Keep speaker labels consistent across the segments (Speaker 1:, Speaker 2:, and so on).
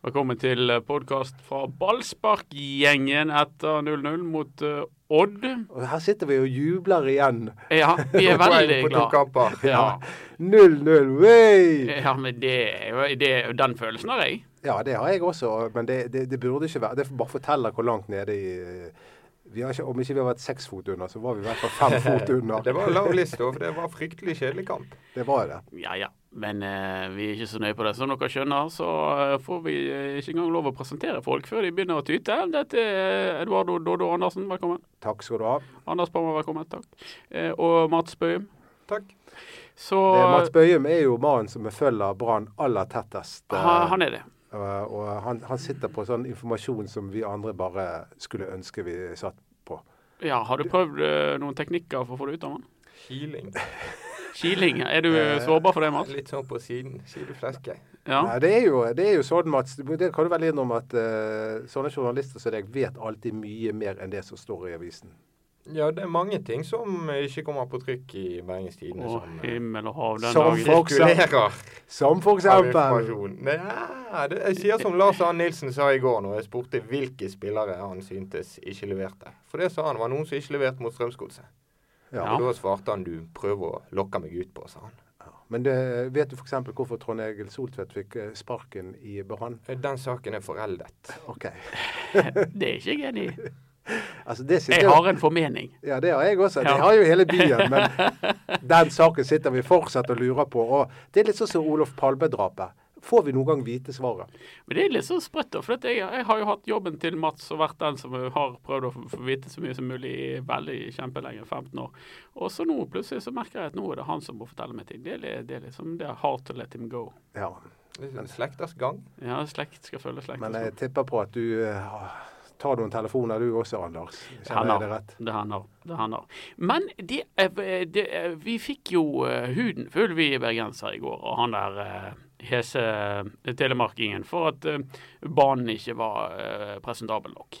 Speaker 1: Velkommen til podkast fra ballsparkgjengen etter 0-0 mot eh, Odd.
Speaker 2: Og her sitter vi og jubler igjen.
Speaker 1: Ja, vi er
Speaker 2: For poeng
Speaker 1: veldig
Speaker 2: På to
Speaker 1: glad.
Speaker 2: kamper.
Speaker 1: Ja. eh,
Speaker 2: 0-0, wey!
Speaker 1: Ja, men det er jo det er jo den følelsen har jeg.
Speaker 2: Ja, det har jeg også, men det, det, det burde ikke være Det bare forteller hvor langt nede i vi har ikke, Om ikke vi har vært seks fot under, så var vi i hvert fall fem fot under.
Speaker 3: Det var lav liste, for det var fryktelig kjedelig kamp.
Speaker 2: Det var det.
Speaker 1: Ja, ja. Men eh, vi er ikke så nøye på det. Som dere skjønner, så eh, får vi eh, ikke engang lov å presentere folk før de begynner å tyte. Dette er Eduardo Dodo Andersen, velkommen.
Speaker 2: Takk skal du ha.
Speaker 1: Anders Palmer, velkommen. Takk. Eh, og Mats Bøhm.
Speaker 3: Takk.
Speaker 1: Så
Speaker 2: Det, Mats Bøyum er jo mannen som følger Brann aller tettest. eh,
Speaker 1: ha, han er det.
Speaker 2: og- og han, han sitter på sånn informasjon som vi andre bare skulle ønske vi satt på.
Speaker 1: Ja, har du prøvd eh, noen teknikker for å få det ut av han?
Speaker 3: Kiling.
Speaker 1: Kiling. Er du eh, sårbar for det, Mats?
Speaker 3: Litt sånn på siden. Sidefleske.
Speaker 1: Ja.
Speaker 2: Nei, det, er jo, det er jo sånn, Mats, det kan du vel innrømme at eh, sånne journalister som deg vet alltid mye mer enn det som står i avisen.
Speaker 3: Ja, det er mange ting som ikke kommer på trykk i Bergens Tidende
Speaker 1: Å,
Speaker 3: som eh,
Speaker 1: himmel og hav den
Speaker 2: sånn, Som
Speaker 1: dagen.
Speaker 2: folk sa.
Speaker 3: sirkulerer
Speaker 2: Som for
Speaker 3: av
Speaker 2: eksempel
Speaker 3: informasjon. Nei, det, jeg sier som Lars Arne Nilsen sa i går når jeg spurte hvilke spillere han syntes ikke leverte. For det sa han var noen som ikke leverte mot Strømsgodset.
Speaker 2: ja.
Speaker 1: Ja.
Speaker 3: Og da svarte han du prøver å lokke meg ut på, sa han.
Speaker 2: Men det, vet du f.eks. hvorfor Trond Egil Soltvedt fikk eh, sparken i Brann?
Speaker 3: Eh, Den saken er foreldet.
Speaker 2: Ok.
Speaker 1: Det er ikke jeg enig i.
Speaker 2: Altså, det sitter
Speaker 1: Jeg har en formening.
Speaker 2: Ja, det har jeg også.
Speaker 1: Ja.
Speaker 2: Det har jo hele byen. Men den saken sitter vi fortsatt og lurer på. Og det er litt sånn som Olof Palme-drapet. Får vi noen gang vite svaret?
Speaker 1: Men det er litt sånn sprøtt, da, for at jeg, jeg har jo hatt jobben til Mats og vært den som har prøvd å få- få vite så mye som mulig i veldig kjempelenge, 15 år. Og så nå plutselig så merker jeg at nå er det han som må fortelle meg ting. Det er, li- det er liksom det er hard to let him go.
Speaker 2: Ja.
Speaker 3: Det er en Slekters gang.
Speaker 1: Ja, slekt skal følge slekt.
Speaker 2: Men
Speaker 1: og
Speaker 2: jeg
Speaker 1: sånn.
Speaker 2: tipper på at du eh, tar noen telefoner du også, Anders. Kjenner jeg det rett?
Speaker 1: Det hender. Det hender. Men det, eh, det, eh, vi fikk jo eh, huden full, vi bergensere, i går, og han der eh, hese eh, telemarkingen, for at eh, banen ikke var eh, presentabel nok.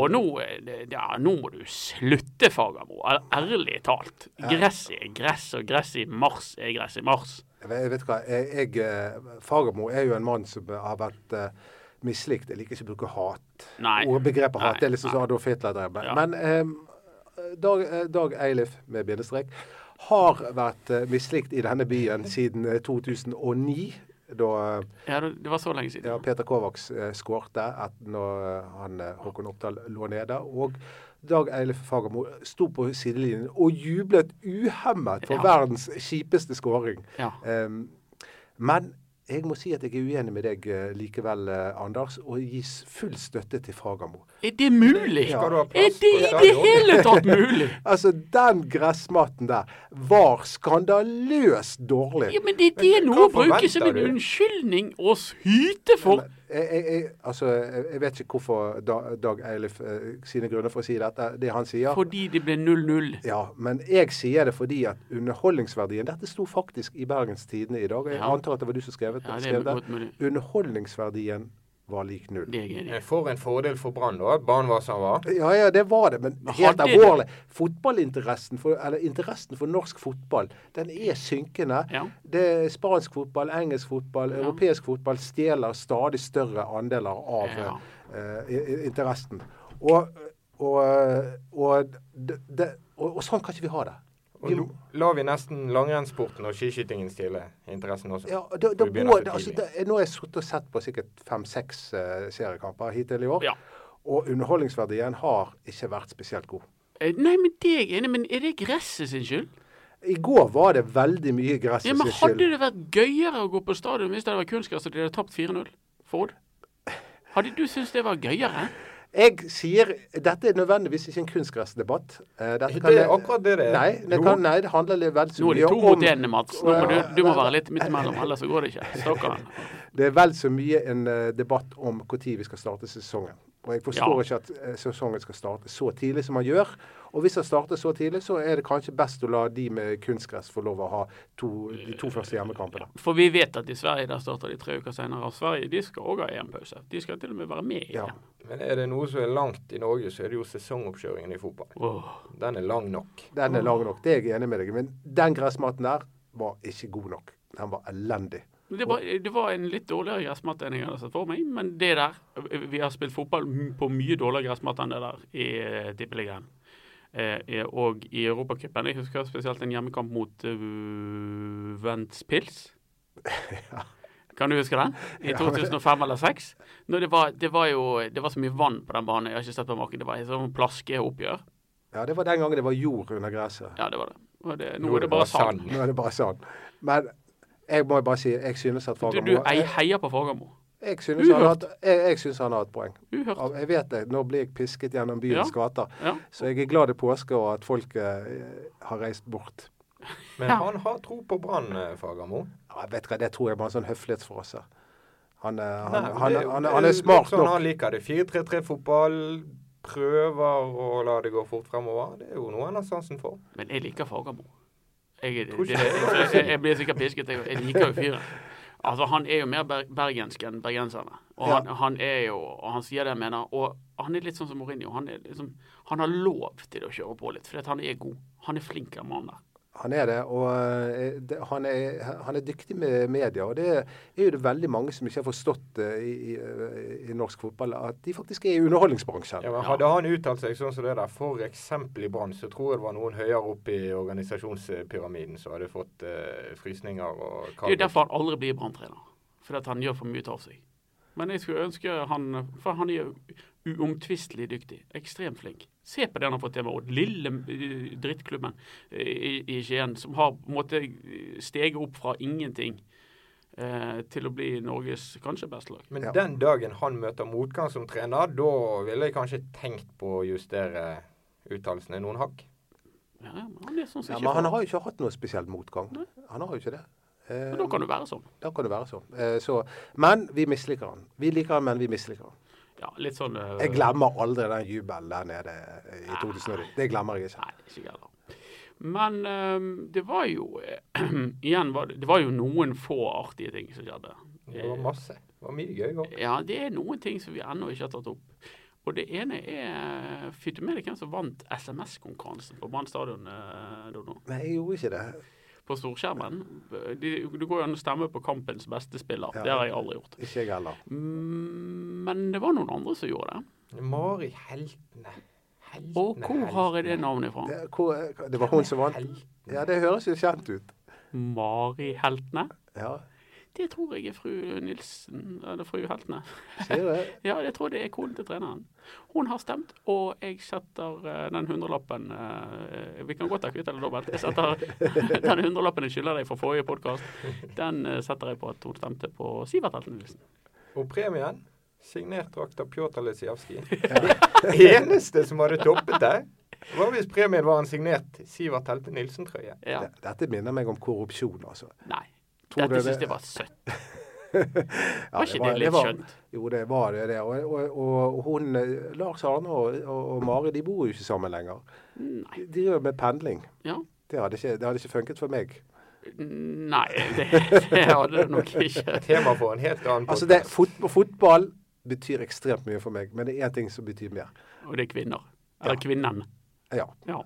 Speaker 1: Og nå, eh, det- ja, nå må du slutte, Fagermo. Er- Ærlig talt. Gress er gress, og gress i mars er gress i mars.
Speaker 2: Jeg vet- Jeg vet hva, jeg, jeg eh, Fagermo er jo en mann som har vært eh, mislikt. Jeg liker ikke å bruke hat.
Speaker 1: Nei.
Speaker 2: Og begrepet
Speaker 1: Nei,
Speaker 2: hat det er liksom sånn Adolf Hitler drev med.
Speaker 1: Ja.
Speaker 2: Men eh, Dag, eh, Dag Eilif, med bindestrek, har vært eh, mislikt i denne byen siden eh, 2009. Da eh,
Speaker 1: Ja, det det var så lenge
Speaker 2: ja,
Speaker 1: siden.
Speaker 2: Peter Kovacs eh, skårte et- når eh, han, eh, Håkon Oppdal lå nede. Og Dag Eilif Fagermo sto på sidelinjen og jublet uhemmet for
Speaker 1: Ja.
Speaker 2: verdens kjipeste skåring.
Speaker 1: Ja.
Speaker 2: Ehm, men jeg må si at jeg er uenig med deg eh, likevel, eh, Anders, og gis full støtte til Fagermo.
Speaker 1: Er det mulig?
Speaker 2: Ja.
Speaker 3: Skal du ha
Speaker 1: Er
Speaker 3: plass
Speaker 1: det i
Speaker 3: på
Speaker 1: det
Speaker 3: stadion?
Speaker 1: hele tatt mulig?
Speaker 2: Altså, den gressmatten der var skandaløst dårlig.
Speaker 1: Ja, men det, det er
Speaker 3: Men
Speaker 1: noe å
Speaker 3: hva
Speaker 1: bruke
Speaker 3: forventer
Speaker 1: som en
Speaker 3: du?
Speaker 1: unnskyldning å syte for.
Speaker 2: Men Jeg, jeg, jeg, altså, jeg jeg vet ikke hvorfor Da- Dag Eilif eh, sine grunner for å si dette, det han sier.
Speaker 1: Fordi det ble 0-0.
Speaker 2: Ja, men jeg sier det fordi at underholdningsverdien Dette sto faktisk i Bergens Tidende i dag, og jeg
Speaker 1: Ja.
Speaker 2: antar at det var du som skrev det.
Speaker 1: Ja, det er
Speaker 2: skrev det.
Speaker 1: godt mulig.
Speaker 2: Underholdningsverdien var lik null.
Speaker 1: Det er jeg enig i.
Speaker 3: Eh, For en fordel for Brann, da. at Banen var som den var.
Speaker 2: Ja, ja, det var det, men
Speaker 1: Men
Speaker 2: helt
Speaker 1: hadde det-
Speaker 2: alvorlig. Fotballinteressen, for, eller interessen for norsk fotball, den er synkende.
Speaker 1: Ja.
Speaker 2: Det er Spansk fotball, engelsk fotball, europeisk fotball stjeler stadig større andeler av
Speaker 1: Ja.
Speaker 2: eh, i- i- interessen. Og, og, og, det, det, og, og sånn kan ikke vi ha det.
Speaker 3: Og
Speaker 2: Vi
Speaker 3: nå la vi nesten langrennssporten og skiskytingen stille interessen også.
Speaker 2: Ja, da, da
Speaker 3: For vi begynner
Speaker 2: går,
Speaker 3: for
Speaker 2: det, altså,
Speaker 3: tidlig.
Speaker 2: det, nå har jeg sittet og sett på sikkert fem-seks eh, seriekamper hittil i år.
Speaker 1: Ja.
Speaker 2: Og underholdningsverdien har ikke vært spesielt god.
Speaker 1: Eh, Nei, men det er jeg enig i. Men er det gresset sin skyld?
Speaker 2: I går var det veldig mye gress
Speaker 1: Ja,
Speaker 2: i
Speaker 1: men
Speaker 2: sin skyld.
Speaker 1: Hadde det vært gøyere å gå på stadion hvis det hadde vært kunstgress og de hadde tapt 4-0 for Odd? Hadde du syntes det var gøyere?
Speaker 2: Jeg sier Dette er nødvendigvis ikke en kunstgressdebatt. Eh, dette
Speaker 3: Det
Speaker 2: kan
Speaker 3: er
Speaker 2: jeg-
Speaker 3: akkurat det det er.
Speaker 2: Nei, det,
Speaker 3: Jo.
Speaker 2: kan, nei, det handler litt vel så
Speaker 1: Nå er det
Speaker 2: mye
Speaker 1: to
Speaker 2: om
Speaker 1: mot én, Mats. Nå må du, du må være litt midt imellom, ellers så går det ikke. Stakkaren.
Speaker 2: Det er vel så mye en eh, debatt om når vi skal starte sesongen. Og jeg forstår
Speaker 1: Ja.
Speaker 2: ikke at eh, sesongen skal starte så tidlig som man gjør. Og hvis den starter så tidlig, så er det kanskje best å la de med kunstgress få lov å ha to, de to første hjemmekampene.
Speaker 1: For vi vet at i Sverige der starter de tre uker senere. Og Sverige de skal òg ha EM-pause. De skal til og med være med i
Speaker 2: Ja.
Speaker 1: EM.
Speaker 3: Men er det noe som er langt i Norge, så er det jo sesongoppkjøringen i fotball.
Speaker 1: Åh.
Speaker 3: Den er lang nok.
Speaker 2: Den er lang nok, det er jeg enig med deg i. Men den gressmaten der var ikke god nok. Den var elendig.
Speaker 1: Det var, det var en litt dårligere gressmatte enn jeg hadde sett for meg, men det der Vi har spilt fotball m- på mye dårligere gressmatte enn det der i eh, Tippeligaen. Eh, eh, og i Europacupen Jeg husker spesielt en hjemmekamp mot uh, Ventspils. Kan du huske den? I
Speaker 2: Ja.
Speaker 1: 2005 eller 2006? Når det, var, det var jo det var så mye vann på den banen. Jeg har ikke sett på maken. Det var et sånn plaskeoppgjør.
Speaker 2: Ja, det var den gangen det var jord under gresset.
Speaker 1: Ja, det var det. Og det nå er det bare sand.
Speaker 2: Nå er det bare sånn. Men jeg må jo bare si, jeg synes at
Speaker 1: Du,
Speaker 2: Fagermo
Speaker 1: du ei- heier på Fagermo.
Speaker 2: Jeg synes han har
Speaker 1: Uhørt.
Speaker 2: hatt- jeg- jeg synes han har et poeng.
Speaker 1: Uhørt.
Speaker 2: Jeg vet det. Nå blir jeg pisket gjennom byens gater.
Speaker 1: Ja.
Speaker 2: Så jeg er glad det er påske og at folk eh, har reist bort.
Speaker 3: Men
Speaker 1: Ja.
Speaker 3: han har tro på Brann, eh, Fagermo.
Speaker 2: Ja, vet du hva, Det tror jeg bare er en sånn høflighetsfrase. Han, eh, han,
Speaker 3: Nei,
Speaker 2: han,
Speaker 3: men
Speaker 2: han,
Speaker 3: det-
Speaker 2: han,
Speaker 3: det
Speaker 2: er smart
Speaker 3: litt sånn
Speaker 2: nok.
Speaker 3: Han liker det. 4-3-3-fotball, prøver å la det gå fort fremover. Det er jo noe han har sansen for.
Speaker 1: Men jeg liker Fagermo. Jeg, det,
Speaker 3: Tror
Speaker 1: det,
Speaker 3: ikke
Speaker 1: jeg, jeg, jeg blir sikkert pisket. Jeg, jeg liker jo fyren. Altså, han er jo mer ber bergensk enn bergenserne. Og han, han er jo Og han sier det han mener. Og han er litt sånn som Mourinho. Han, er liksom, han har lov til å kjøre på litt, fordi at han er god. Han er flink, den mannen der.
Speaker 2: Han er det, og eh, det, han, er, han er dyktig med media. Og det er jo det veldig mange som ikke har forstått eh, i, i, i norsk fotball, at de faktisk er i underholdningsbransjen.
Speaker 3: Ja, men hadde han uttalt seg sånn som det der, f.eks. i Brann, så tror jeg det var noen høyere oppe i organisasjonspyramiden som hadde fått eh, frysninger og
Speaker 1: Det er jo derfor han aldri blir branntrener. Fordi at han gjør for mye ut av seg. Men jeg skulle ønske han For han er jo uomtvistelig dyktig. Ekstremt flink. Se på det han har fått til med Odd. Lille eh, drittklubben eh, i, i Skien som har på en måte steget opp fra ingenting eh, til å bli Norges kanskje beste lag.
Speaker 3: Men
Speaker 2: Ja.
Speaker 3: den dagen han møter motgang som trener, da ville jeg kanskje tenkt på å justere uttalelsene noen hakk.
Speaker 1: Ja, ja, men han er sånn som
Speaker 2: Ja,
Speaker 1: ikke
Speaker 2: men han
Speaker 1: får-
Speaker 2: har jo ikke hatt noe spesiell motgang. Han har jo ikke det. Eh,
Speaker 1: Men Da kan du være sånn.
Speaker 2: da kan det være sånn. Eh, så, men vi misliker han. Vi liker han, men vi misliker han.
Speaker 1: Ja, litt sånn eh,
Speaker 2: Jeg glemmer aldri den jubelen der nede eh, i 2009. Det glemmer jeg ikke.
Speaker 1: Nei, ikke jeg heller. Men ehm, det var jo eh, Igjen, var det, det var jo noen få artige ting som skjedde.
Speaker 3: Det var masse. Det var mye gøy. også.
Speaker 1: Ja, det er noen ting som vi ennå ikke har tatt opp. Og det ene er Fikk du med deg hvem som vant SMS-konkurransen på Brann stadion, eh, Dodo?
Speaker 2: Nei, jeg gjorde ikke det.
Speaker 1: På storskjermen? De- Du går jo an å stemme på kampens beste spiller.
Speaker 2: Ja.
Speaker 1: Det har jeg aldri gjort.
Speaker 2: Ikke jeg heller.
Speaker 1: Mm, Men det var noen andre som gjorde det.
Speaker 3: Mari Heltene. Heltene,
Speaker 1: Og hvor har jeg det
Speaker 3: Heltene.
Speaker 1: navnet fra?
Speaker 2: Det, hvor, eh, det var hun som vant.
Speaker 3: Heltene.
Speaker 2: Ja, det høres jo kjent ut.
Speaker 1: Mari Heltene?
Speaker 2: Ja,
Speaker 1: Det tror jeg er fru Nilsen, eller fru Heltene.
Speaker 2: sier du det?
Speaker 1: Ja, jeg tror det er koden til treneren. Hun har stemt, og jeg setter eh, den hundrelappen eh, Vi kan godt ha kvitt eller dobbelt. Jeg setter den hundrelappen jeg skylder deg fra forrige podkast, den eh, setter jeg på at hun stemte på Sivert Helten Nilsen.
Speaker 3: Og premien? Signert drakt av Pjotr Lisijavskij. Det eneste som hadde toppet det, var hvis premien var en signert Sivert Helte Nilsen-trøye.
Speaker 1: Ja.
Speaker 2: Det- Dette minner meg om korrupsjon, altså.
Speaker 1: Nei.
Speaker 2: Tror
Speaker 1: Dette
Speaker 2: dere
Speaker 1: syns
Speaker 2: det-
Speaker 1: jeg var søtt.
Speaker 2: Ja,
Speaker 1: Var ikke det litt
Speaker 2: var-
Speaker 1: skjønt?
Speaker 2: Jo, det var det. det. Og, og, og hun, eh, Lars Arne og, og, og Mari de bor jo ikke sammen lenger.
Speaker 1: Nei.
Speaker 2: De driver med pendling.
Speaker 1: Ja.
Speaker 2: Det hadde, ikke, det hadde ikke funket for meg.
Speaker 1: Nei, det, det hadde det nok ikke.
Speaker 3: Tema for en helt annen
Speaker 2: Altså, det,
Speaker 3: podcast.
Speaker 2: fot, Fotball betyr ekstremt mye for meg, men det er én ting som betyr mer.
Speaker 1: Og det er kvinner. Eller kvinnen.
Speaker 2: Ja.
Speaker 1: Ja.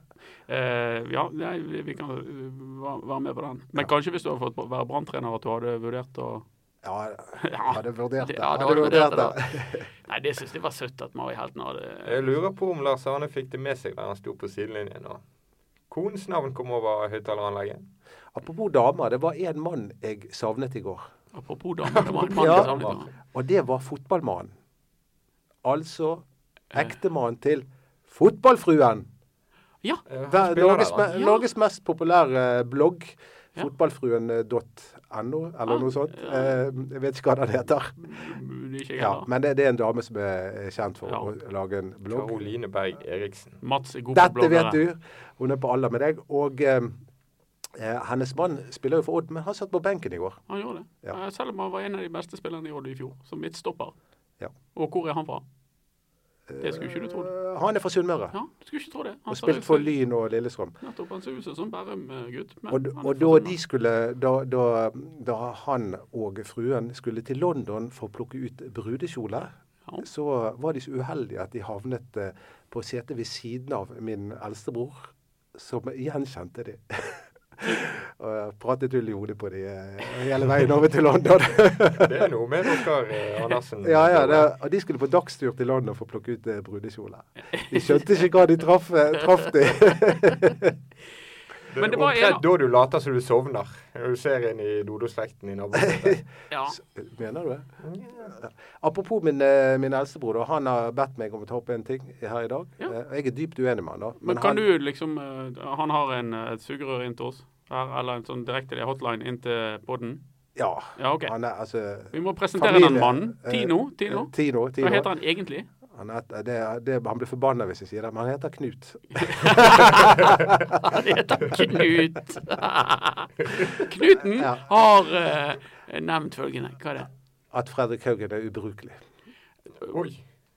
Speaker 1: Eh, ja, nei, vi vi kan eh, va- være med på den. Men kanskje hvis du hadde fått være branntrener, at du hadde vurdert å
Speaker 2: ja
Speaker 1: Ja.
Speaker 2: hadde vurdert det.
Speaker 1: Ja, du hadde vurdert Nei, det syns jeg var søtt at Mari Helten hadde
Speaker 3: Jeg lurer på om Lars Arne fikk det med seg der han sto på sidelinjen. og Konens navn kom over høyttaleranlegget.
Speaker 2: Apropos damer, det var én mann jeg savnet i går.
Speaker 1: Apropos damer, det var en mann
Speaker 2: Ja.
Speaker 1: som samlet damer.
Speaker 2: Og det var fotballmannen. Altså
Speaker 1: Eh.
Speaker 2: ektemannen til fotballfruen.
Speaker 1: Ja,
Speaker 3: Eh, han
Speaker 2: Ver-
Speaker 3: spiller
Speaker 2: Norges,
Speaker 3: der,
Speaker 2: me
Speaker 3: han.
Speaker 1: Ja.
Speaker 2: Norges mest populære eh, blogg. eh,
Speaker 1: Ja.
Speaker 2: Fotballfruen.no, eller
Speaker 1: Ah,
Speaker 2: noe sånt.
Speaker 1: ja.
Speaker 2: Eh, Jeg vet ikke hva den heter.
Speaker 1: Mm, det er ikke jeg
Speaker 2: Ja,
Speaker 1: heller.
Speaker 2: men det, det er en dame som er kjent for
Speaker 1: Ja.
Speaker 2: å lage en blogg.
Speaker 3: Karoline Berg Eriksen.
Speaker 1: Mats er god på
Speaker 2: Dette
Speaker 1: bloggere.
Speaker 2: vet du. Hun er på alder med deg. Og eh, eh, hennes mann spiller jo for Odd, men han satt på benken i går.
Speaker 1: Han gjorde det.
Speaker 2: Ja.
Speaker 1: Eh, Selv om han var en av de beste spillerne i Odd i fjor, som midtstopper.
Speaker 2: Ja.
Speaker 1: Og hvor er han fra? Det skulle ikke du tro.
Speaker 2: Eh, Han er fra Sunnmøre
Speaker 1: Ja, du skulle ikke tro det.
Speaker 2: og
Speaker 1: sa
Speaker 2: spilt
Speaker 1: det-
Speaker 2: for Lyn og Lillestrøm.
Speaker 1: Nettopp. Han ser ut som en sånn Bærum-gutt. men
Speaker 2: Og,
Speaker 1: han er
Speaker 2: og da
Speaker 1: fra
Speaker 2: de
Speaker 1: Sunnmøre.
Speaker 2: skulle da, da, da han og fruen skulle til London for å plukke ut brudekjole,
Speaker 1: Ja.
Speaker 2: så var de så uheldige at de havnet eh, på setet ved siden av min eldstebror, som gjenkjente de. Og jeg pratet ull i hodet på de eh, hele veien over til London.
Speaker 3: Det er noe med dere, eh, Andersen.
Speaker 2: ja, ja, det, og de skulle på dagstur til London for å plukke ut eh, brudekjoler. De skjønte ikke hva de traff, eh, traff de.
Speaker 3: Det er
Speaker 1: Men det var en-
Speaker 3: omtrent da du later som du sovner. Når du ser en i Dodo-slekten i nabolaget.
Speaker 1: Ja.
Speaker 2: Mener du det? Apropos min, eh, min eldstebror, da, han har bedt meg om å ta opp en ting her i dag.
Speaker 1: Ja.
Speaker 2: Eh, og Jeg er dypt uenig med han da.
Speaker 1: Men kan
Speaker 2: han,
Speaker 1: du liksom eh, Han har en, eh, et sugerør inn til oss her, eller en sånn direkte hotline inn til podden.
Speaker 2: Ja.
Speaker 1: Ja, OK.
Speaker 2: Han er altså
Speaker 1: Vi må presentere
Speaker 2: Familie,
Speaker 1: den mannen.
Speaker 2: eh,
Speaker 1: Tino. Tino.
Speaker 2: Tino, Tino.
Speaker 1: Hva heter han egentlig?
Speaker 2: Han, heter, det, det, han blir forbanna hvis jeg sier det, men han heter Knut.
Speaker 1: Han heter Knut. Knuten
Speaker 2: Ja.
Speaker 1: har eh, nevnt følgende. Hva er det?
Speaker 2: At Fredrik Haugen er ubrukelig.
Speaker 3: Oi.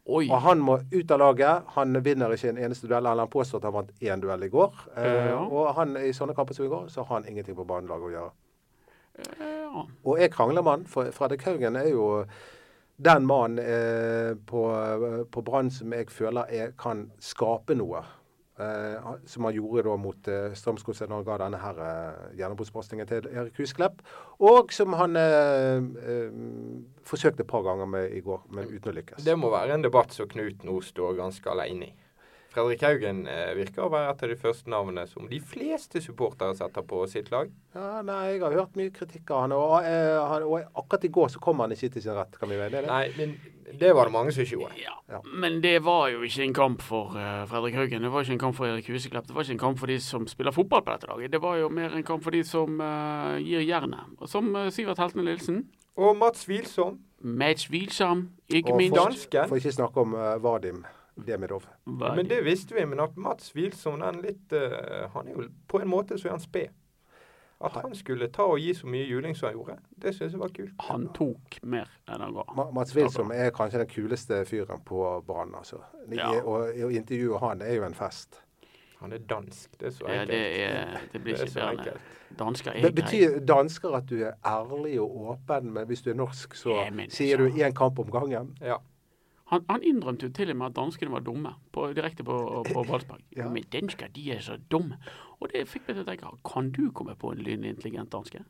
Speaker 1: Oi.
Speaker 2: Og han må ut av laget. Han vinner ikke en eneste duell. eller Han påstår at han vant én duell i går. Eh,
Speaker 1: Ja.
Speaker 2: Og han, i sånne kamper som i går, så har han ingenting på banelaget å gjøre.
Speaker 1: Eh, Ja.
Speaker 2: Og jeg krangler med han, for Fredrik Haugen er jo eh, den mannen eh, på, på Brann som jeg føler er, kan skape noe. Eh, han- som han gjorde da mot eh, Strømsgodset når han ga denne her eh, gjennombruddspasningen til Erik Husklepp. Og som han eh, eh, forsøkte et par ganger med i går, men uten å lykkes.
Speaker 3: Det må være en debatt som Knut nå står ganske alene i. Fredrik Haugen eh, virker å være et av de første navnene som de fleste supportere setter på sitt lag.
Speaker 2: Ja, nei, jeg har hørt mye kritikk av han, og, eh, han, og akkurat i går så kom han ikke til sin rett. Kan vi være enige i det?
Speaker 3: Nei, men det var det mange som ikke gjorde.
Speaker 1: Ja.
Speaker 2: Ja.
Speaker 1: Men det var jo ikke en kamp for eh, Fredrik Haugen. Det var ikke en kamp for Erik Huseklepp. Det var ikke en kamp for de som spiller fotball på dette laget. Det var jo mer en kamp for de som eh, gir jernet. Og Som eh, Sivert Heltene Lillesen.
Speaker 3: Og Mats Wilsom,
Speaker 1: Match hvilsom, ikke
Speaker 2: Og
Speaker 1: minst.
Speaker 2: for-
Speaker 3: dansken.
Speaker 2: For ikke snakke om eh, Vadim Demidov.
Speaker 1: Hva er
Speaker 3: Men
Speaker 1: det?
Speaker 3: det visste vi. Men at Mats Wilson, den litt eh, Han er jo på en måte så er han sped. At han skulle ta og gi så mye juling som han gjorde, det syns jeg var kult.
Speaker 1: Han tok mer enn han ga.
Speaker 2: Ma- Mats Wilsom er kanskje den kuleste fyren på banen, altså. I,
Speaker 1: Ja.
Speaker 2: og, og intervjuet han er jo en fest.
Speaker 3: Han er dansk, det er så
Speaker 1: Ja, det,
Speaker 3: enkelt.
Speaker 1: er, det blir
Speaker 3: Det er
Speaker 1: ikke
Speaker 3: så
Speaker 1: bedre.
Speaker 3: enkelt.
Speaker 1: Dansker er
Speaker 2: Det
Speaker 1: grei.
Speaker 2: betyr dansker at du er ærlig og åpen, men hvis du er norsk, så
Speaker 1: Jeg mener
Speaker 2: sier
Speaker 1: ikke.
Speaker 2: du én kamp om gangen.
Speaker 3: Ja.
Speaker 1: Han, han innrømte jo til og med at danskene var dumme, på, direkte på, på Balsberg.
Speaker 2: Ja.
Speaker 1: Men dansker, de er så dumme. Og det fikk meg til å tenke, kan du komme på en lynintelligent danske?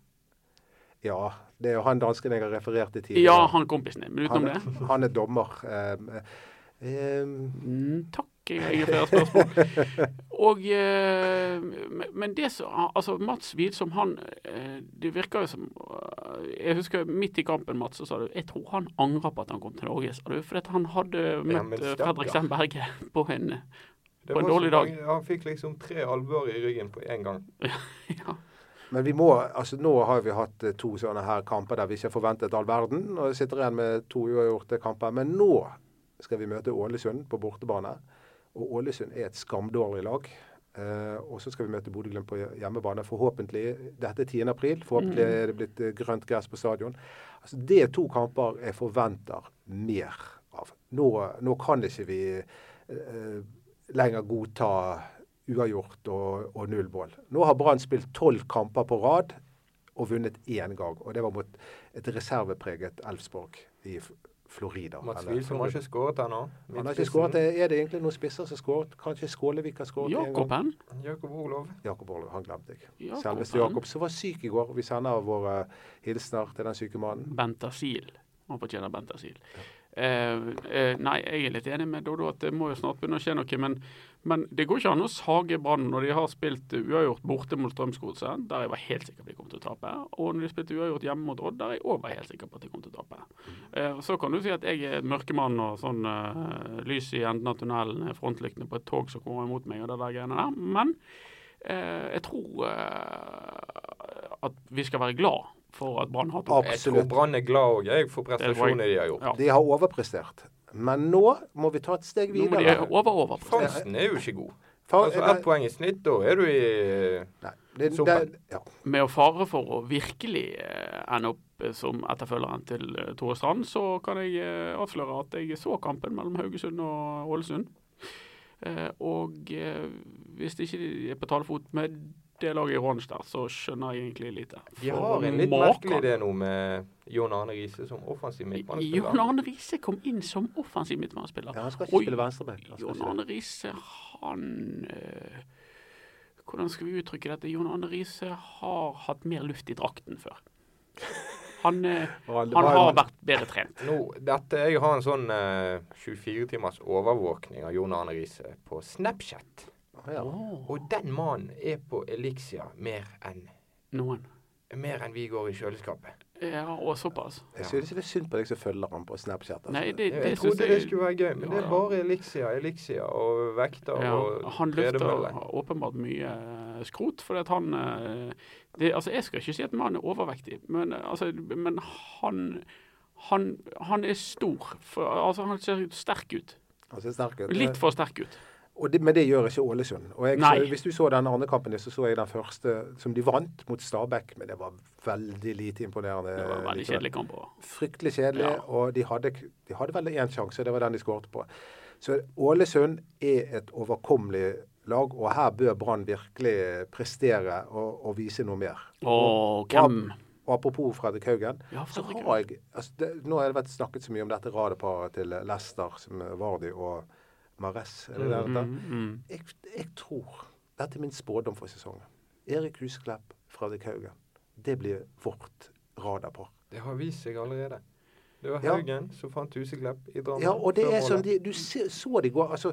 Speaker 2: Ja, det er jo han dansken jeg har referert til tidligere.
Speaker 1: Ja, han kompisen din. Men utenom det?
Speaker 2: han, han er dommer. Um, um,
Speaker 1: Mm, takk, jeg har ingen flere spørsmål. Og, eh, men- men det som Altså, Mats Widsom, han eh, Det virker jo som eh, Jeg husker midt i kampen, Mats, så sa du jeg tror han angrer på at han kom til Norge. sa du, Fordi at han hadde møtt
Speaker 3: men
Speaker 1: eh,
Speaker 3: stakkar.
Speaker 1: Fredrik Sem Berge på en
Speaker 3: Det
Speaker 1: På en
Speaker 3: var så
Speaker 1: dårlig dag.
Speaker 3: mange- Han fikk liksom tre albuer i ryggen på én gang.
Speaker 1: ja.
Speaker 2: Men vi må, altså nå har vi hatt eh, to sånne her kamper der vi ikke har forventet all verden. Og sitter igjen med to uavgjorte kamper. Men nå skal vi møte Ålesund på bortebane. Og Ålesund er et skamdårlig lag. Eh, og så skal vi møte Bodø-Glimt på hjemmebane. Forhåpentlig, Dette er 10. april. Forhåpentlig er det blitt eh, grønt gress på stadion. Altså, det er to kamper jeg forventer mer av. Nå, nå kan ikke vi eh, lenger godta uavgjort og, og null mål. Nå har Brann spilt tolv kamper på rad og vunnet én gang. Og det var mot et reservepreget Elfsborg i F- Florida.
Speaker 3: Mats
Speaker 2: eller-
Speaker 3: Wilson har ikke skåret ennå.
Speaker 2: Han har ikke skåret. eh, Er det egentlig noen spisser som har skåret? Kanskje Skålevik har skåret én gang?
Speaker 1: Jakoben?
Speaker 3: Jakob Olav.
Speaker 2: Jakob Orlov, han glemte jeg.
Speaker 1: Jakob,
Speaker 2: Selveste
Speaker 1: han.
Speaker 2: Jakob, som var syk i går. Vi sender våre hilsener til den syke mannen.
Speaker 1: Bent Asil. Han fortjener Bent Asil. Eh, eh, nei, jeg er litt enig med Dodo at det må jo snart begynne å skje noe. Men, men det går ikke an å sage Brann når de har spilt eh, uavgjort borte mot Strømsgodset, der jeg var helt sikker på at de kom til å tape, og når de spilte uavgjort hjemme mot Odd, der jeg òg var helt sikker på at de kom til å tape. Eh, så kan du si at jeg er et mørkemann og sånn eh, lys i enden av tunnelen, eh, frontlyktene på et tog som kommer imot meg og det der greiene der. Men eh, jeg tror eh, at vi skal være glad for at Brann har tapt.
Speaker 3: Jeg tror
Speaker 2: Absolutt.
Speaker 3: Brann er glad òg, jeg, for
Speaker 1: Det
Speaker 3: prestasjonene
Speaker 1: tror
Speaker 3: de har gjort.
Speaker 1: Ja.
Speaker 2: De har overprestert. Men nå må vi ta et steg
Speaker 1: Nå må de
Speaker 2: videre.
Speaker 1: over over. på stedet.
Speaker 3: Fransen er jo ikke god.
Speaker 2: Fa-
Speaker 3: Altså Ett poeng i snitt, da er du i
Speaker 2: Nei, det, det,
Speaker 3: Sopa.
Speaker 2: ja.
Speaker 1: Med å fare for å virkelig eh, ende opp eh, som etterfølgeren til eh, Tore Strand, så kan jeg eh, avsløre at jeg så kampen mellom Haugesund og Ålesund. Eh, og eh, hvis de ikke er på talefot med det laget i Rons der, så skjønner jeg egentlig lite.
Speaker 3: De
Speaker 1: For
Speaker 3: har en litt
Speaker 1: maken.
Speaker 3: merkelig idé nå med Jon Arne Riise som offensiv
Speaker 1: Jon
Speaker 3: midtbanespiller.
Speaker 1: Arne Riise kom inn som offensiv midtbanespiller.
Speaker 2: ja, han skal ikke
Speaker 1: Oi.
Speaker 2: spille venstreback. Han skal
Speaker 1: Jon
Speaker 2: ikke det.
Speaker 1: Arne Riise, han eh, Hvordan skal vi uttrykke dette? Jon Arne Riise har hatt mer luft i drakten før. Han, eh,
Speaker 2: Han
Speaker 1: han har vært bedre trent.
Speaker 3: Nå, dette, jeg har en sånn eh, 24 timers overvåkning av Jon Arne Riise på Snapchat.
Speaker 2: ja.
Speaker 3: Og den mannen er på Elixia mer enn
Speaker 1: Noen.
Speaker 3: mer enn vi går i kjøleskapet.
Speaker 1: Ja, og såpass.
Speaker 2: Jeg synes det er synd på deg som følger han på Snapchat. altså.
Speaker 1: Nei, det,
Speaker 3: Jeg,
Speaker 1: det syns
Speaker 3: trodde det
Speaker 1: jeg
Speaker 3: skulle være gøy,
Speaker 1: Ja,
Speaker 3: men det er
Speaker 1: ja.
Speaker 3: bare Elixia, Elixia og vekter
Speaker 1: ja,
Speaker 3: og
Speaker 1: Han løfter
Speaker 3: tredemølle.
Speaker 1: åpenbart mye eh, skrot, fordi at han eh, det, Altså, jeg skal ikke si at mannen er overvektig, men, eh, altså, men han, han Han er stor. For, altså, han ser sterk ut.
Speaker 2: Han ser sterk ut.
Speaker 1: Litt for sterk ut.
Speaker 2: Og det, men det gjør ikke Ålesund. Og jeg,
Speaker 1: Nei.
Speaker 2: så, hvis du så den andre kampen, din, så så jeg den første som de vant mot Stabæk. Men det var veldig lite imponerende.
Speaker 1: Det var en veldig
Speaker 2: likevel.
Speaker 1: kjedelig kamp. også.
Speaker 2: Fryktelig kjedelig.
Speaker 1: Ja.
Speaker 2: Og de hadde, de hadde vel én sjanse, det var den de skåret på. Så Ålesund er et overkommelig lag, og her bør Brann virkelig prestere og, og vise noe mer.
Speaker 1: Og hvem
Speaker 2: Og apropos Fredrik Haugen,
Speaker 1: Ja,
Speaker 2: så
Speaker 1: Fredrik
Speaker 2: har jeg altså det, Nå har det vært snakket så mye om dette radeparet til Lester, som Vardi og Mares. Er det det det heter?
Speaker 1: Mm.
Speaker 2: jeg, jeg tror Dette er min spådom for sesongen. Erik Husklepp, Fredrik Haugen. Det blir vårt radarpar.
Speaker 3: Det har vist seg allerede. Det var
Speaker 2: Ja.
Speaker 3: Haugen som fant Huseklepp i Drammen.
Speaker 2: Ja, og det
Speaker 3: Sånn før
Speaker 2: er som
Speaker 3: målet.
Speaker 2: de, Du se, så de går altså,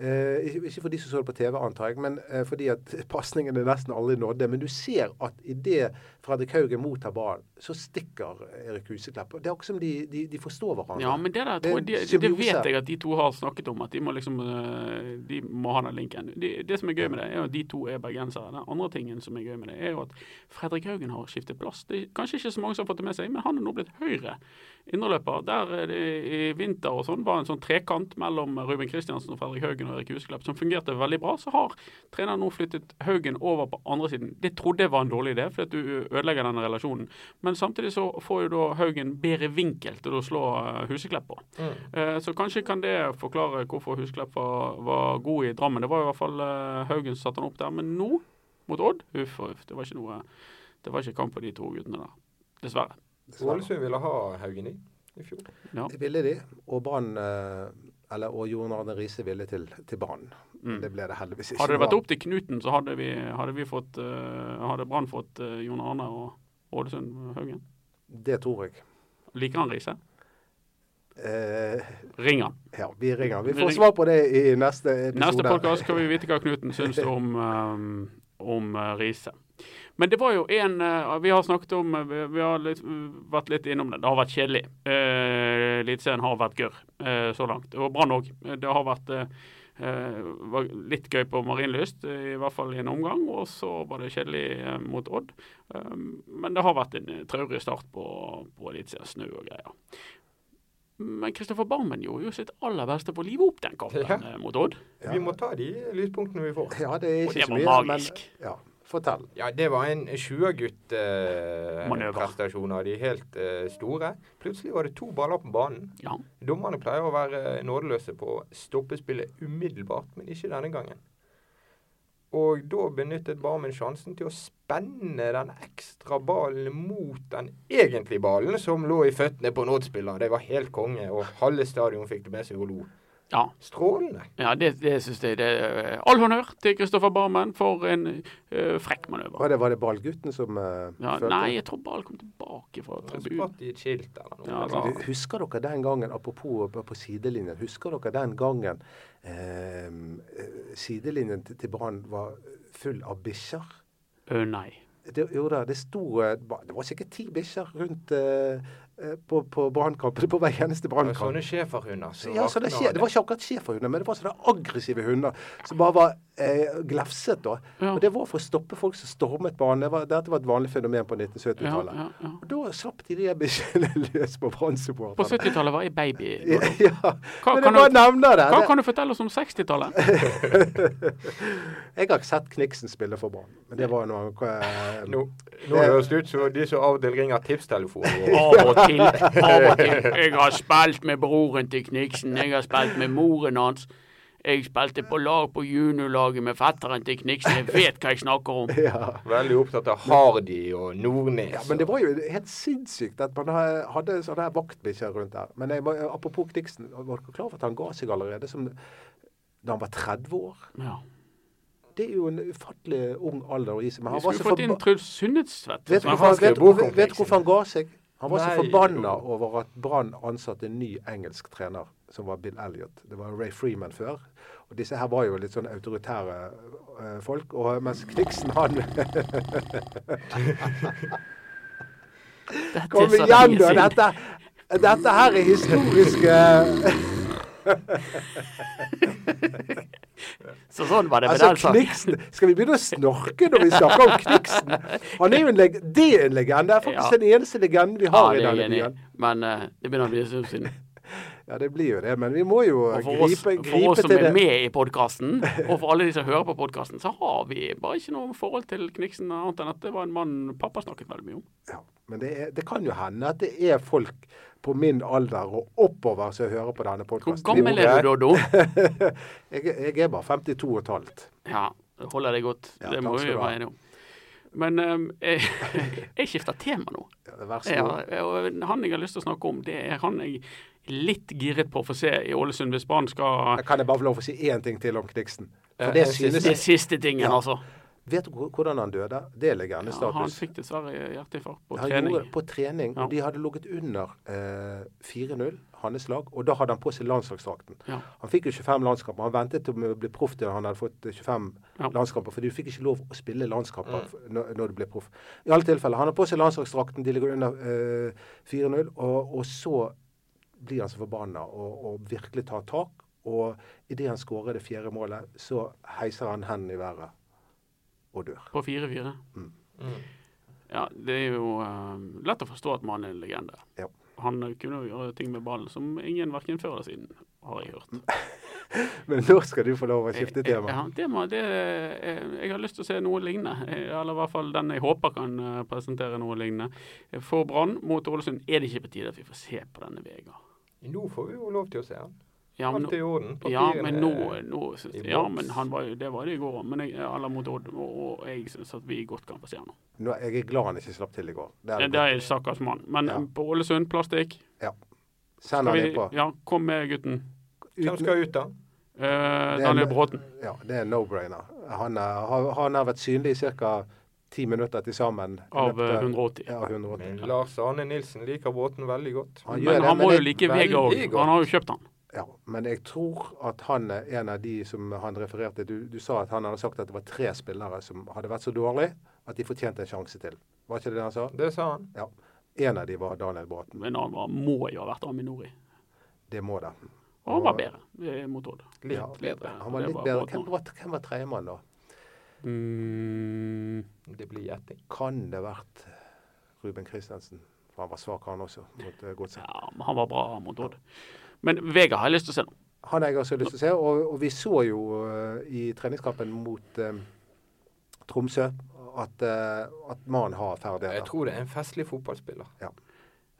Speaker 2: eh, ikke- Ikke for de som så det på TV, antar jeg, men eh, fordi at pasningene nesten aldri nådde. Men du ser at idet Fredrik Haugen mottar ballen, så stikker Erik Huseklepp. Og Det er akkurat som de, de, de forstår hverandre.
Speaker 1: Ja, men det der
Speaker 2: Det er
Speaker 1: tror jeg, det, det
Speaker 2: symbiose.
Speaker 1: vet jeg at de to har snakket om, at de må liksom eh, De må ha den linken. De, det som er gøy med det, er jo at de to er bergensere. Den andre tingen som er gøy med det, er jo at Fredrik Haugen har skiftet plass. Det er kanskje ikke så mange som har fått det med seg, men han er nå blitt høyre indreløper. Der er det i vinter og sånn var en sånn trekant mellom Ruben Kristiansen og Fredrik Haugen og Erik Husklepp som fungerte veldig bra. Så har treneren nå flyttet Haugen over på andre siden. Det trodde jeg var en dårlig idé, for at du ødelegger denne relasjonen. Men samtidig så får jo da Haugen bedre vinkel til å slå eh, Huseklepp på.
Speaker 3: Mm.
Speaker 1: Eh, Så kanskje kan det forklare hvorfor Husklepp var, var god i Drammen. Det var i hvert fall eh, Haugen som satte han opp der. Men nå, mot Odd, huff og huff. Det var ikke noe Det var ikke kamp på de to guttene der. Dessverre.
Speaker 3: Ålesund ville ha Haugen i i fjor.
Speaker 1: Ja.
Speaker 2: Det ville de, og Brann eh, eller, og Jon Arne Riise ville til, til Brann.
Speaker 1: Mm.
Speaker 2: Det ble det heldigvis ikke.
Speaker 1: Hadde det
Speaker 2: Brann.
Speaker 1: vært opp til Knuten, så hadde, vi, hadde, vi fått, eh, hadde Brann fått eh, Jon Arne og Ålesund Haugen.
Speaker 2: Det tror jeg.
Speaker 1: Liker han Riise?
Speaker 2: Eh,
Speaker 1: Ring han.
Speaker 2: ja, vi ringer. Vi
Speaker 1: Vi
Speaker 2: får
Speaker 1: ringer.
Speaker 2: svar på det i neste episode.
Speaker 1: Neste podkast skal vi vite hva Knuten syns om, um, om eh, Riise. Men det var jo en eh, Vi har snakket om eh, Vi, vi har litt, vært litt innom det. Det har vært kjedelig. Eh, Eliteserien har vært gørr eh, så langt. Og Brann òg. Det har vært eh, eh, var litt gøy på Marienlyst, eh, i hvert fall i en omgang. Og så var det kjedelig eh, mot Odd. Eh, men det har vært en eh, traurig start på, på Eliteserien. Snø og greier. Men Kristoffer Barmen gjorde jo sitt aller beste på å live opp den kampen
Speaker 3: Ja.
Speaker 1: eh, mot Odd.
Speaker 2: Ja.
Speaker 3: Vi må ta de lyspunktene vi får.
Speaker 2: Ja, det er
Speaker 1: Og
Speaker 2: ikke
Speaker 1: det
Speaker 2: så
Speaker 1: var
Speaker 2: mye.
Speaker 1: magisk.
Speaker 2: Men, ja, fortell.
Speaker 3: Ja, det var en 20-gutt-prestasjon
Speaker 1: Manøver.
Speaker 3: eh, prestasjon av de helt eh, store. Plutselig var det to baller på banen.
Speaker 1: Ja.
Speaker 3: Dommerne pleier å være nådeløse på å stoppe spillet umiddelbart, men ikke denne gangen. Og da benyttet Barmen sjansen til å spenne den ekstra ballen mot den egentlige ballen som lå i føttene på en Odd-spiller. Det var helt konge, og halve stadion fikk det med seg og lo.
Speaker 1: ja.
Speaker 3: Strålende.
Speaker 1: Ja, det, det syns jeg det er All honnør til Kristoffer Barmen for en eh, frekk manøver.
Speaker 2: Var det, var det ballgutten som uh,
Speaker 1: Ja,
Speaker 2: følte
Speaker 1: nei, jeg tror ballen kom tilbake fra
Speaker 3: Han
Speaker 1: tribunen.
Speaker 3: spratt i et skilt eller noe.
Speaker 1: Ja,
Speaker 3: Det var-
Speaker 2: Du, Husker dere den gangen, apropos på- på sidelinjen, husker dere den gangen eh, eh, sidelinjen til, til Brann var full av bikkjer?
Speaker 1: Ø, Eh, nei.
Speaker 2: Det, jo da, det sto eh, ba- Det var sikkert ti bikkjer rundt eh, eh, på, på Brannkampen. På hver eneste
Speaker 3: Det var sånn-
Speaker 2: Brannkamp.
Speaker 3: Sånne schæferhunder. som
Speaker 2: Ja, sånne
Speaker 3: rakna
Speaker 2: skje, det var ikke akkurat schæferhunder, men det var sånne aggressive hunder som bare var eh, glefset. da.
Speaker 1: Ja.
Speaker 2: Og Det var for å stoppe folk som stormet banen. Det var, dette var et vanlig fenomen på
Speaker 1: Ja,
Speaker 2: 1970-tallet.
Speaker 1: ja, ja.
Speaker 2: Og Da slapp de de bikkjene løs på
Speaker 1: På
Speaker 2: brannsupporterne.
Speaker 1: 70-tallet var jeg baby.
Speaker 2: Ja, ja.
Speaker 1: Hva
Speaker 2: Men
Speaker 1: kan
Speaker 2: jeg bare
Speaker 1: du-
Speaker 2: nevner det.
Speaker 1: Hva kan du fortelle oss om 60-tallet?
Speaker 2: det. Jeg har ikke sett Kniksen spille for Brann, men det var noe eh,
Speaker 3: Nå, nå høres det ut som de som av og til ringer tipstelefonen.
Speaker 1: Av og til. Av og til. Jeg har spilt med broren til Kniksen. Jeg har spilt med moren hans. Jeg spilte på lag på juniorlaget med fetteren til Kniksen. Jeg vet hva jeg snakker om.
Speaker 2: ja.
Speaker 3: og Veldig opptatt av Hardy og Nordnes.
Speaker 2: Ja, men det var jo helt sinnssykt at man ha- hadde sånne her vaktbikkjer rundt der. Men jeg, må- apropos Kniksen, var dere klar over at han ga seg allerede som, da han var 30 år?
Speaker 1: Ja.
Speaker 2: Det er jo en ufattelig ung alder å gi seg. Men
Speaker 1: Vi
Speaker 2: han var
Speaker 1: skulle
Speaker 2: så
Speaker 1: fått inn
Speaker 2: forba...
Speaker 1: Truls Sundtvedt.
Speaker 2: Vet
Speaker 1: som
Speaker 2: du
Speaker 1: er
Speaker 2: hvorfor,
Speaker 3: Men
Speaker 1: fransk-
Speaker 3: han skrev
Speaker 2: vet, du-
Speaker 3: bok om
Speaker 2: vet du
Speaker 3: Brexit.
Speaker 2: hvorfor han ga seg? Han var så
Speaker 3: Nei,
Speaker 2: forbanna
Speaker 3: jo.
Speaker 2: over at Brann ansatte en ny engelsk trener, som var Bill Elliot. Det var Ray Freeman før. Og disse her var jo litt sånn autoritære eh, folk. Og mens Kniksen, han
Speaker 1: Dette er
Speaker 2: Kom
Speaker 1: så lenge
Speaker 2: igjen, da!
Speaker 1: siden.
Speaker 2: Dette, dette her er eh, historiske
Speaker 1: Så sånn var det med
Speaker 2: Altså,
Speaker 1: den saken.
Speaker 2: Kniksen Skal vi begynne å snorke når vi snakker om Kniksen? Han er jo en leg det er en legende. Det er faktisk
Speaker 1: Ja.
Speaker 2: den eneste legenden vi
Speaker 1: Ja,
Speaker 2: har
Speaker 1: det er
Speaker 2: i
Speaker 1: jeg
Speaker 2: denne
Speaker 1: enig i.
Speaker 2: byen.
Speaker 1: Men eh, det begynner å bli en stund siden.
Speaker 2: Ja, det blir jo det. Men vi må jo
Speaker 1: Og for oss,
Speaker 2: gripe,
Speaker 1: for oss
Speaker 2: gripe
Speaker 1: som
Speaker 2: til
Speaker 1: er
Speaker 2: det.
Speaker 1: med i podkasten, og for alle de som hører på podkasten, så har vi bare ikke noe forhold til Kniksen annet enn at det var en mann pappa snakket veldig mye om.
Speaker 2: Ja, men det, er, det kan jo hende at det er folk på min alder og oppover som hører på denne
Speaker 1: Hvor
Speaker 2: podkasten.
Speaker 1: gammel er du, Doddo?
Speaker 2: Jeg, jeg er bare 52 og et halvt.
Speaker 1: Ja, holder det godt.
Speaker 2: Ja,
Speaker 1: det
Speaker 2: takk
Speaker 1: må
Speaker 2: skal
Speaker 1: vi
Speaker 2: du ha.
Speaker 1: være enige om. Men eh, jeg, jeg skifter tema nå.
Speaker 2: Ja, Vær så
Speaker 1: Ja,
Speaker 2: god.
Speaker 1: og han jeg har lyst til å snakke om, det er han jeg er litt giret på å få se i Ålesund hvis Brann skal
Speaker 2: Kan jeg bare få lov å si én ting til om Kniksen?
Speaker 3: Ja,
Speaker 2: For det
Speaker 3: jeg synes
Speaker 2: synes
Speaker 1: Det
Speaker 2: jeg.
Speaker 1: er siste tingen,
Speaker 2: Ja.
Speaker 1: altså.
Speaker 2: Vet du hvor- hvordan han døde? Det er
Speaker 1: Ja, han
Speaker 2: legendestatus.
Speaker 1: fikk dessverre hjerteinfarkt på
Speaker 2: Han
Speaker 1: trening.
Speaker 2: gjorde på trening,
Speaker 1: Ja.
Speaker 2: og de hadde ligget under eh, 4-0, hans lag, og da hadde han på seg landslagsdrakten.
Speaker 1: Ja.
Speaker 2: Han fikk jo 25 landskamper. Han ventet med å bli proff til han hadde fått 25
Speaker 1: Ja. Mm.
Speaker 2: landskamper, for du fikk ikke lov å spille landskamper f- når, når du ble proff. I alle tilfeller. Han har på seg landslagsdrakten, de ligger under eh, 4-0, og, og så blir han så forbanna og, og virkelig tar tak. Og idet han skårer det fjerde målet, så heiser han hendene i været og dør.
Speaker 1: På 4-4.
Speaker 3: Mm.
Speaker 1: Ja, det er jo eh, lett å forstå at mannen er en legende.
Speaker 2: Ja.
Speaker 1: Han eh, kunne jo gjøre ting med ballen som ingen verken før eller siden, har jeg hørt.
Speaker 2: Men nå skal du få lov å skifte tema.
Speaker 1: Ja, tema det, eh, jeg har lyst til å se noe lignende. Eh, Eller i hvert fall den jeg håper kan eh, presentere noe lignende. Eh, For Brann mot Ålesund er det ikke på tide at vi får se på denne Vegard.
Speaker 3: Nå får vi jo lov til å se han.
Speaker 1: Ja, men
Speaker 3: Alt er
Speaker 1: nå,
Speaker 3: i orden.
Speaker 1: ja,
Speaker 3: Papirene
Speaker 1: men nå,
Speaker 2: eh,
Speaker 1: eh, nå syns,
Speaker 3: i
Speaker 1: ja,
Speaker 3: boks.
Speaker 1: men han var jo, det var det i går. Men jeg, eller mot Odd, og, og jeg syns at vi godt kan få se han nå.
Speaker 2: Nå, jeg er glad han ikke slapp til i går. Det er
Speaker 1: Eh,
Speaker 2: det
Speaker 1: Det
Speaker 2: godt.
Speaker 1: er en stakkars mann. Men
Speaker 2: Ja.
Speaker 1: eh, på Ålesund, plastikk.
Speaker 2: Send
Speaker 1: Skal
Speaker 2: han
Speaker 1: vi,
Speaker 2: innpå.
Speaker 1: ja, kom med gutten.
Speaker 3: Hvem
Speaker 2: Uten-
Speaker 3: skal ut, da?
Speaker 1: Eh, Daniel Bråten.
Speaker 2: Ja, det er en no-brainer. Han, er- har- han har vært synlig i ca. ti minutter til sammen. i
Speaker 1: Av
Speaker 2: løpet
Speaker 1: eh,
Speaker 2: av-
Speaker 1: 180.
Speaker 2: Ja, 180.
Speaker 3: Men Lars Arne Nilsen liker båten veldig godt.
Speaker 2: Han gjør
Speaker 1: Men
Speaker 2: det,
Speaker 1: han må
Speaker 2: men
Speaker 1: jo
Speaker 2: jeg-
Speaker 1: like
Speaker 3: veldig
Speaker 1: Vega òg.
Speaker 3: godt.
Speaker 1: Han har jo kjøpt han.
Speaker 2: Ja, men jeg tror at han er en av de som han refererte Du, du sa at han hadde sagt at det var tre spillere som hadde vært så dårlige at de fortjente en sjanse til. Var ikke det det han sa?
Speaker 3: Det sa han.
Speaker 2: Ja. En av de var Daniel Bråten.
Speaker 1: Men han var, må jo ha vært Aminori.
Speaker 2: Det må det.
Speaker 1: Og han var
Speaker 2: Og-
Speaker 1: bedre eh, mot Odd.
Speaker 3: Litt
Speaker 2: Ja.
Speaker 3: bedre.
Speaker 2: Han var
Speaker 1: Det
Speaker 2: litt
Speaker 1: var
Speaker 2: bedre.
Speaker 1: Bråten.
Speaker 2: Hvem var, hvem var tredjemann, da?
Speaker 1: Mm,
Speaker 3: Det blir gjetting.
Speaker 2: Kan det vært Ruben Christensen? For han var svak, han også, mot eh, Godset.
Speaker 1: ja, men han var bra mot Odd. Men Vega har jeg lyst til å se nå.
Speaker 2: Han har jeg også lyst til å se. Og, og vi så jo eh, i treningskampen mot eh, Tromsø at, eh, at mannen har
Speaker 3: Jeg
Speaker 2: ferdigheter.
Speaker 3: tror det er en festlig fotballspiller.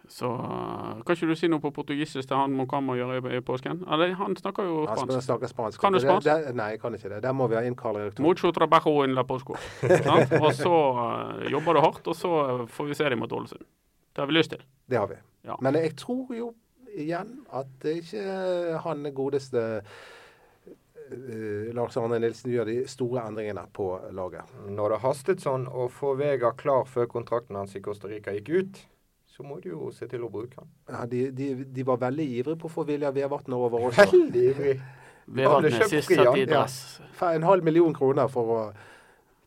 Speaker 1: Så eh, kan ikke du si noe på portugisisk til han Mokama gjør i- i påsken? Eller han snakker jo
Speaker 2: Han spiller-
Speaker 1: spansk.
Speaker 2: snakker spansk.
Speaker 1: Kan du
Speaker 2: Det-
Speaker 1: spansk?
Speaker 2: det- nei, jeg kan ikke det. Der må vi ha inn Karl Erik Thon.
Speaker 1: Mucho trabajo en la posco. Sant? Og så eh, jobber du hardt, og så eh, får vi se dem mot Ålesund. Det har vi lyst til.
Speaker 2: Det har vi.
Speaker 1: Ja.
Speaker 2: Men jeg tror jo igjen at ikke han godeste eh, Lars Arne Nilsen gjør de store endringene på laget.
Speaker 3: Når det hastet sånn å få Vega klar før kontrakten hans i Costa Rica gikk ut, så må du jo se til å bruke han.
Speaker 2: Ja, de, de, de var veldig ivrige på å få Vilja Vevatn over også.
Speaker 3: Veldig ivrig. Han ble
Speaker 1: Vevatnet
Speaker 3: kjøpt
Speaker 1: sist
Speaker 3: fri,
Speaker 1: satt
Speaker 3: han,
Speaker 1: i
Speaker 3: ja.
Speaker 1: dress.
Speaker 2: Fa- En halv million kroner for å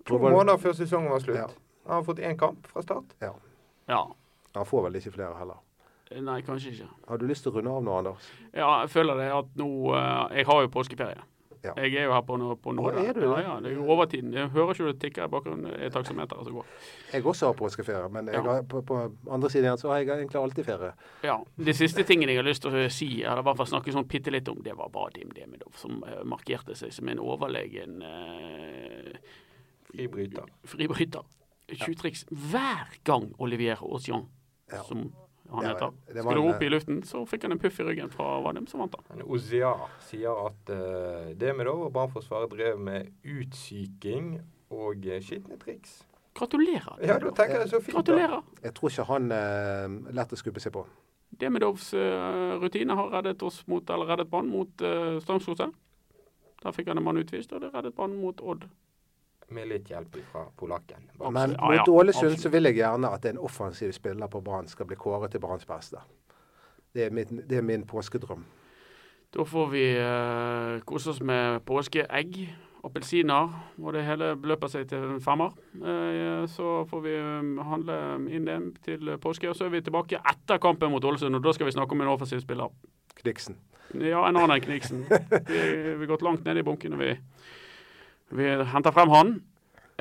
Speaker 3: To måneder før sesongen var
Speaker 2: Ja.
Speaker 3: slutt. Han har fått én kamp fra start.
Speaker 1: Ja.
Speaker 2: Han får vel ikke flere heller.
Speaker 1: Nei, kanskje ikke.
Speaker 2: Har du lyst til å runde av nå, Anders?
Speaker 1: Ja, jeg føler det at nå eh, Jeg har jo påskeferie.
Speaker 2: Ja.
Speaker 1: Jeg er jo her på, nå- på nåde.
Speaker 2: Å, er du det?
Speaker 1: Ja, ja, det er jo overtiden. Jeg hører ikke det tikker i bakgrunnen. Det er taksameteret som går.
Speaker 2: Jeg også har påskeferie, men jeg
Speaker 1: Ja.
Speaker 2: har, på, på andre siden igjen så har jeg egentlig alltid ferie.
Speaker 1: Ja. De siste tingene jeg har lyst til å si, eller i hvert fall snakke sånn bitte litt om, det var Vadim Demidov, som eh, markerte seg som en overlegen eh,
Speaker 3: Fribryter.
Speaker 1: fribryter. Tjuvtriks hver gang Olivier Auchan,
Speaker 2: Ja.
Speaker 1: som han
Speaker 2: Ja,
Speaker 1: heter,
Speaker 2: det
Speaker 1: skulle
Speaker 2: var en, eh,
Speaker 1: rope i luften, så fikk han en puff i ryggen fra Vadim, som vant han.
Speaker 3: Men Ozia sier at uh, Demidov og Brannforsvaret drev med utsyking og eh, skitne triks.
Speaker 1: Gratulerer.
Speaker 3: Ja, da tenker jeg så fint. da.
Speaker 1: Gratulerer.
Speaker 2: Jeg tror ikke han eh, lett å skubbe seg på.
Speaker 1: Demidovs eh, rutine har reddet oss mot, eh, eller reddet Brann mot uh, Strømsgodset. Der fikk han en mann utvist, og det reddet Brann mot Odd
Speaker 3: med litt hjelp fra polakken.
Speaker 1: Absolutt.
Speaker 2: Men
Speaker 1: Ja, ja,
Speaker 2: mot Ålesund
Speaker 1: absolutt.
Speaker 2: så vil jeg gjerne at en offensiv spiller på Brann skal bli kåret til Branns beste. Det er, min, det er min påskedrøm.
Speaker 1: Da får vi eh, kose oss med påskeegg, appelsiner, og det hele løper seg til en femmer. Eh, så får vi eh, handle inn det til påske, og så er vi tilbake etter kampen mot Ålesund, og da skal vi snakke om en offensiv spiller.
Speaker 2: Kniksen.
Speaker 1: Ja, en annen enn Kniksen. Vi vi har gått langt ned i bunken, og vi, vi henter frem han.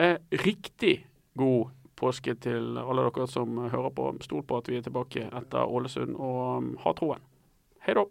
Speaker 1: Eh, riktig god påske til alle dere som hører på. Stol på at vi er tilbake etter Ålesund, og um, ha troen. Hei da.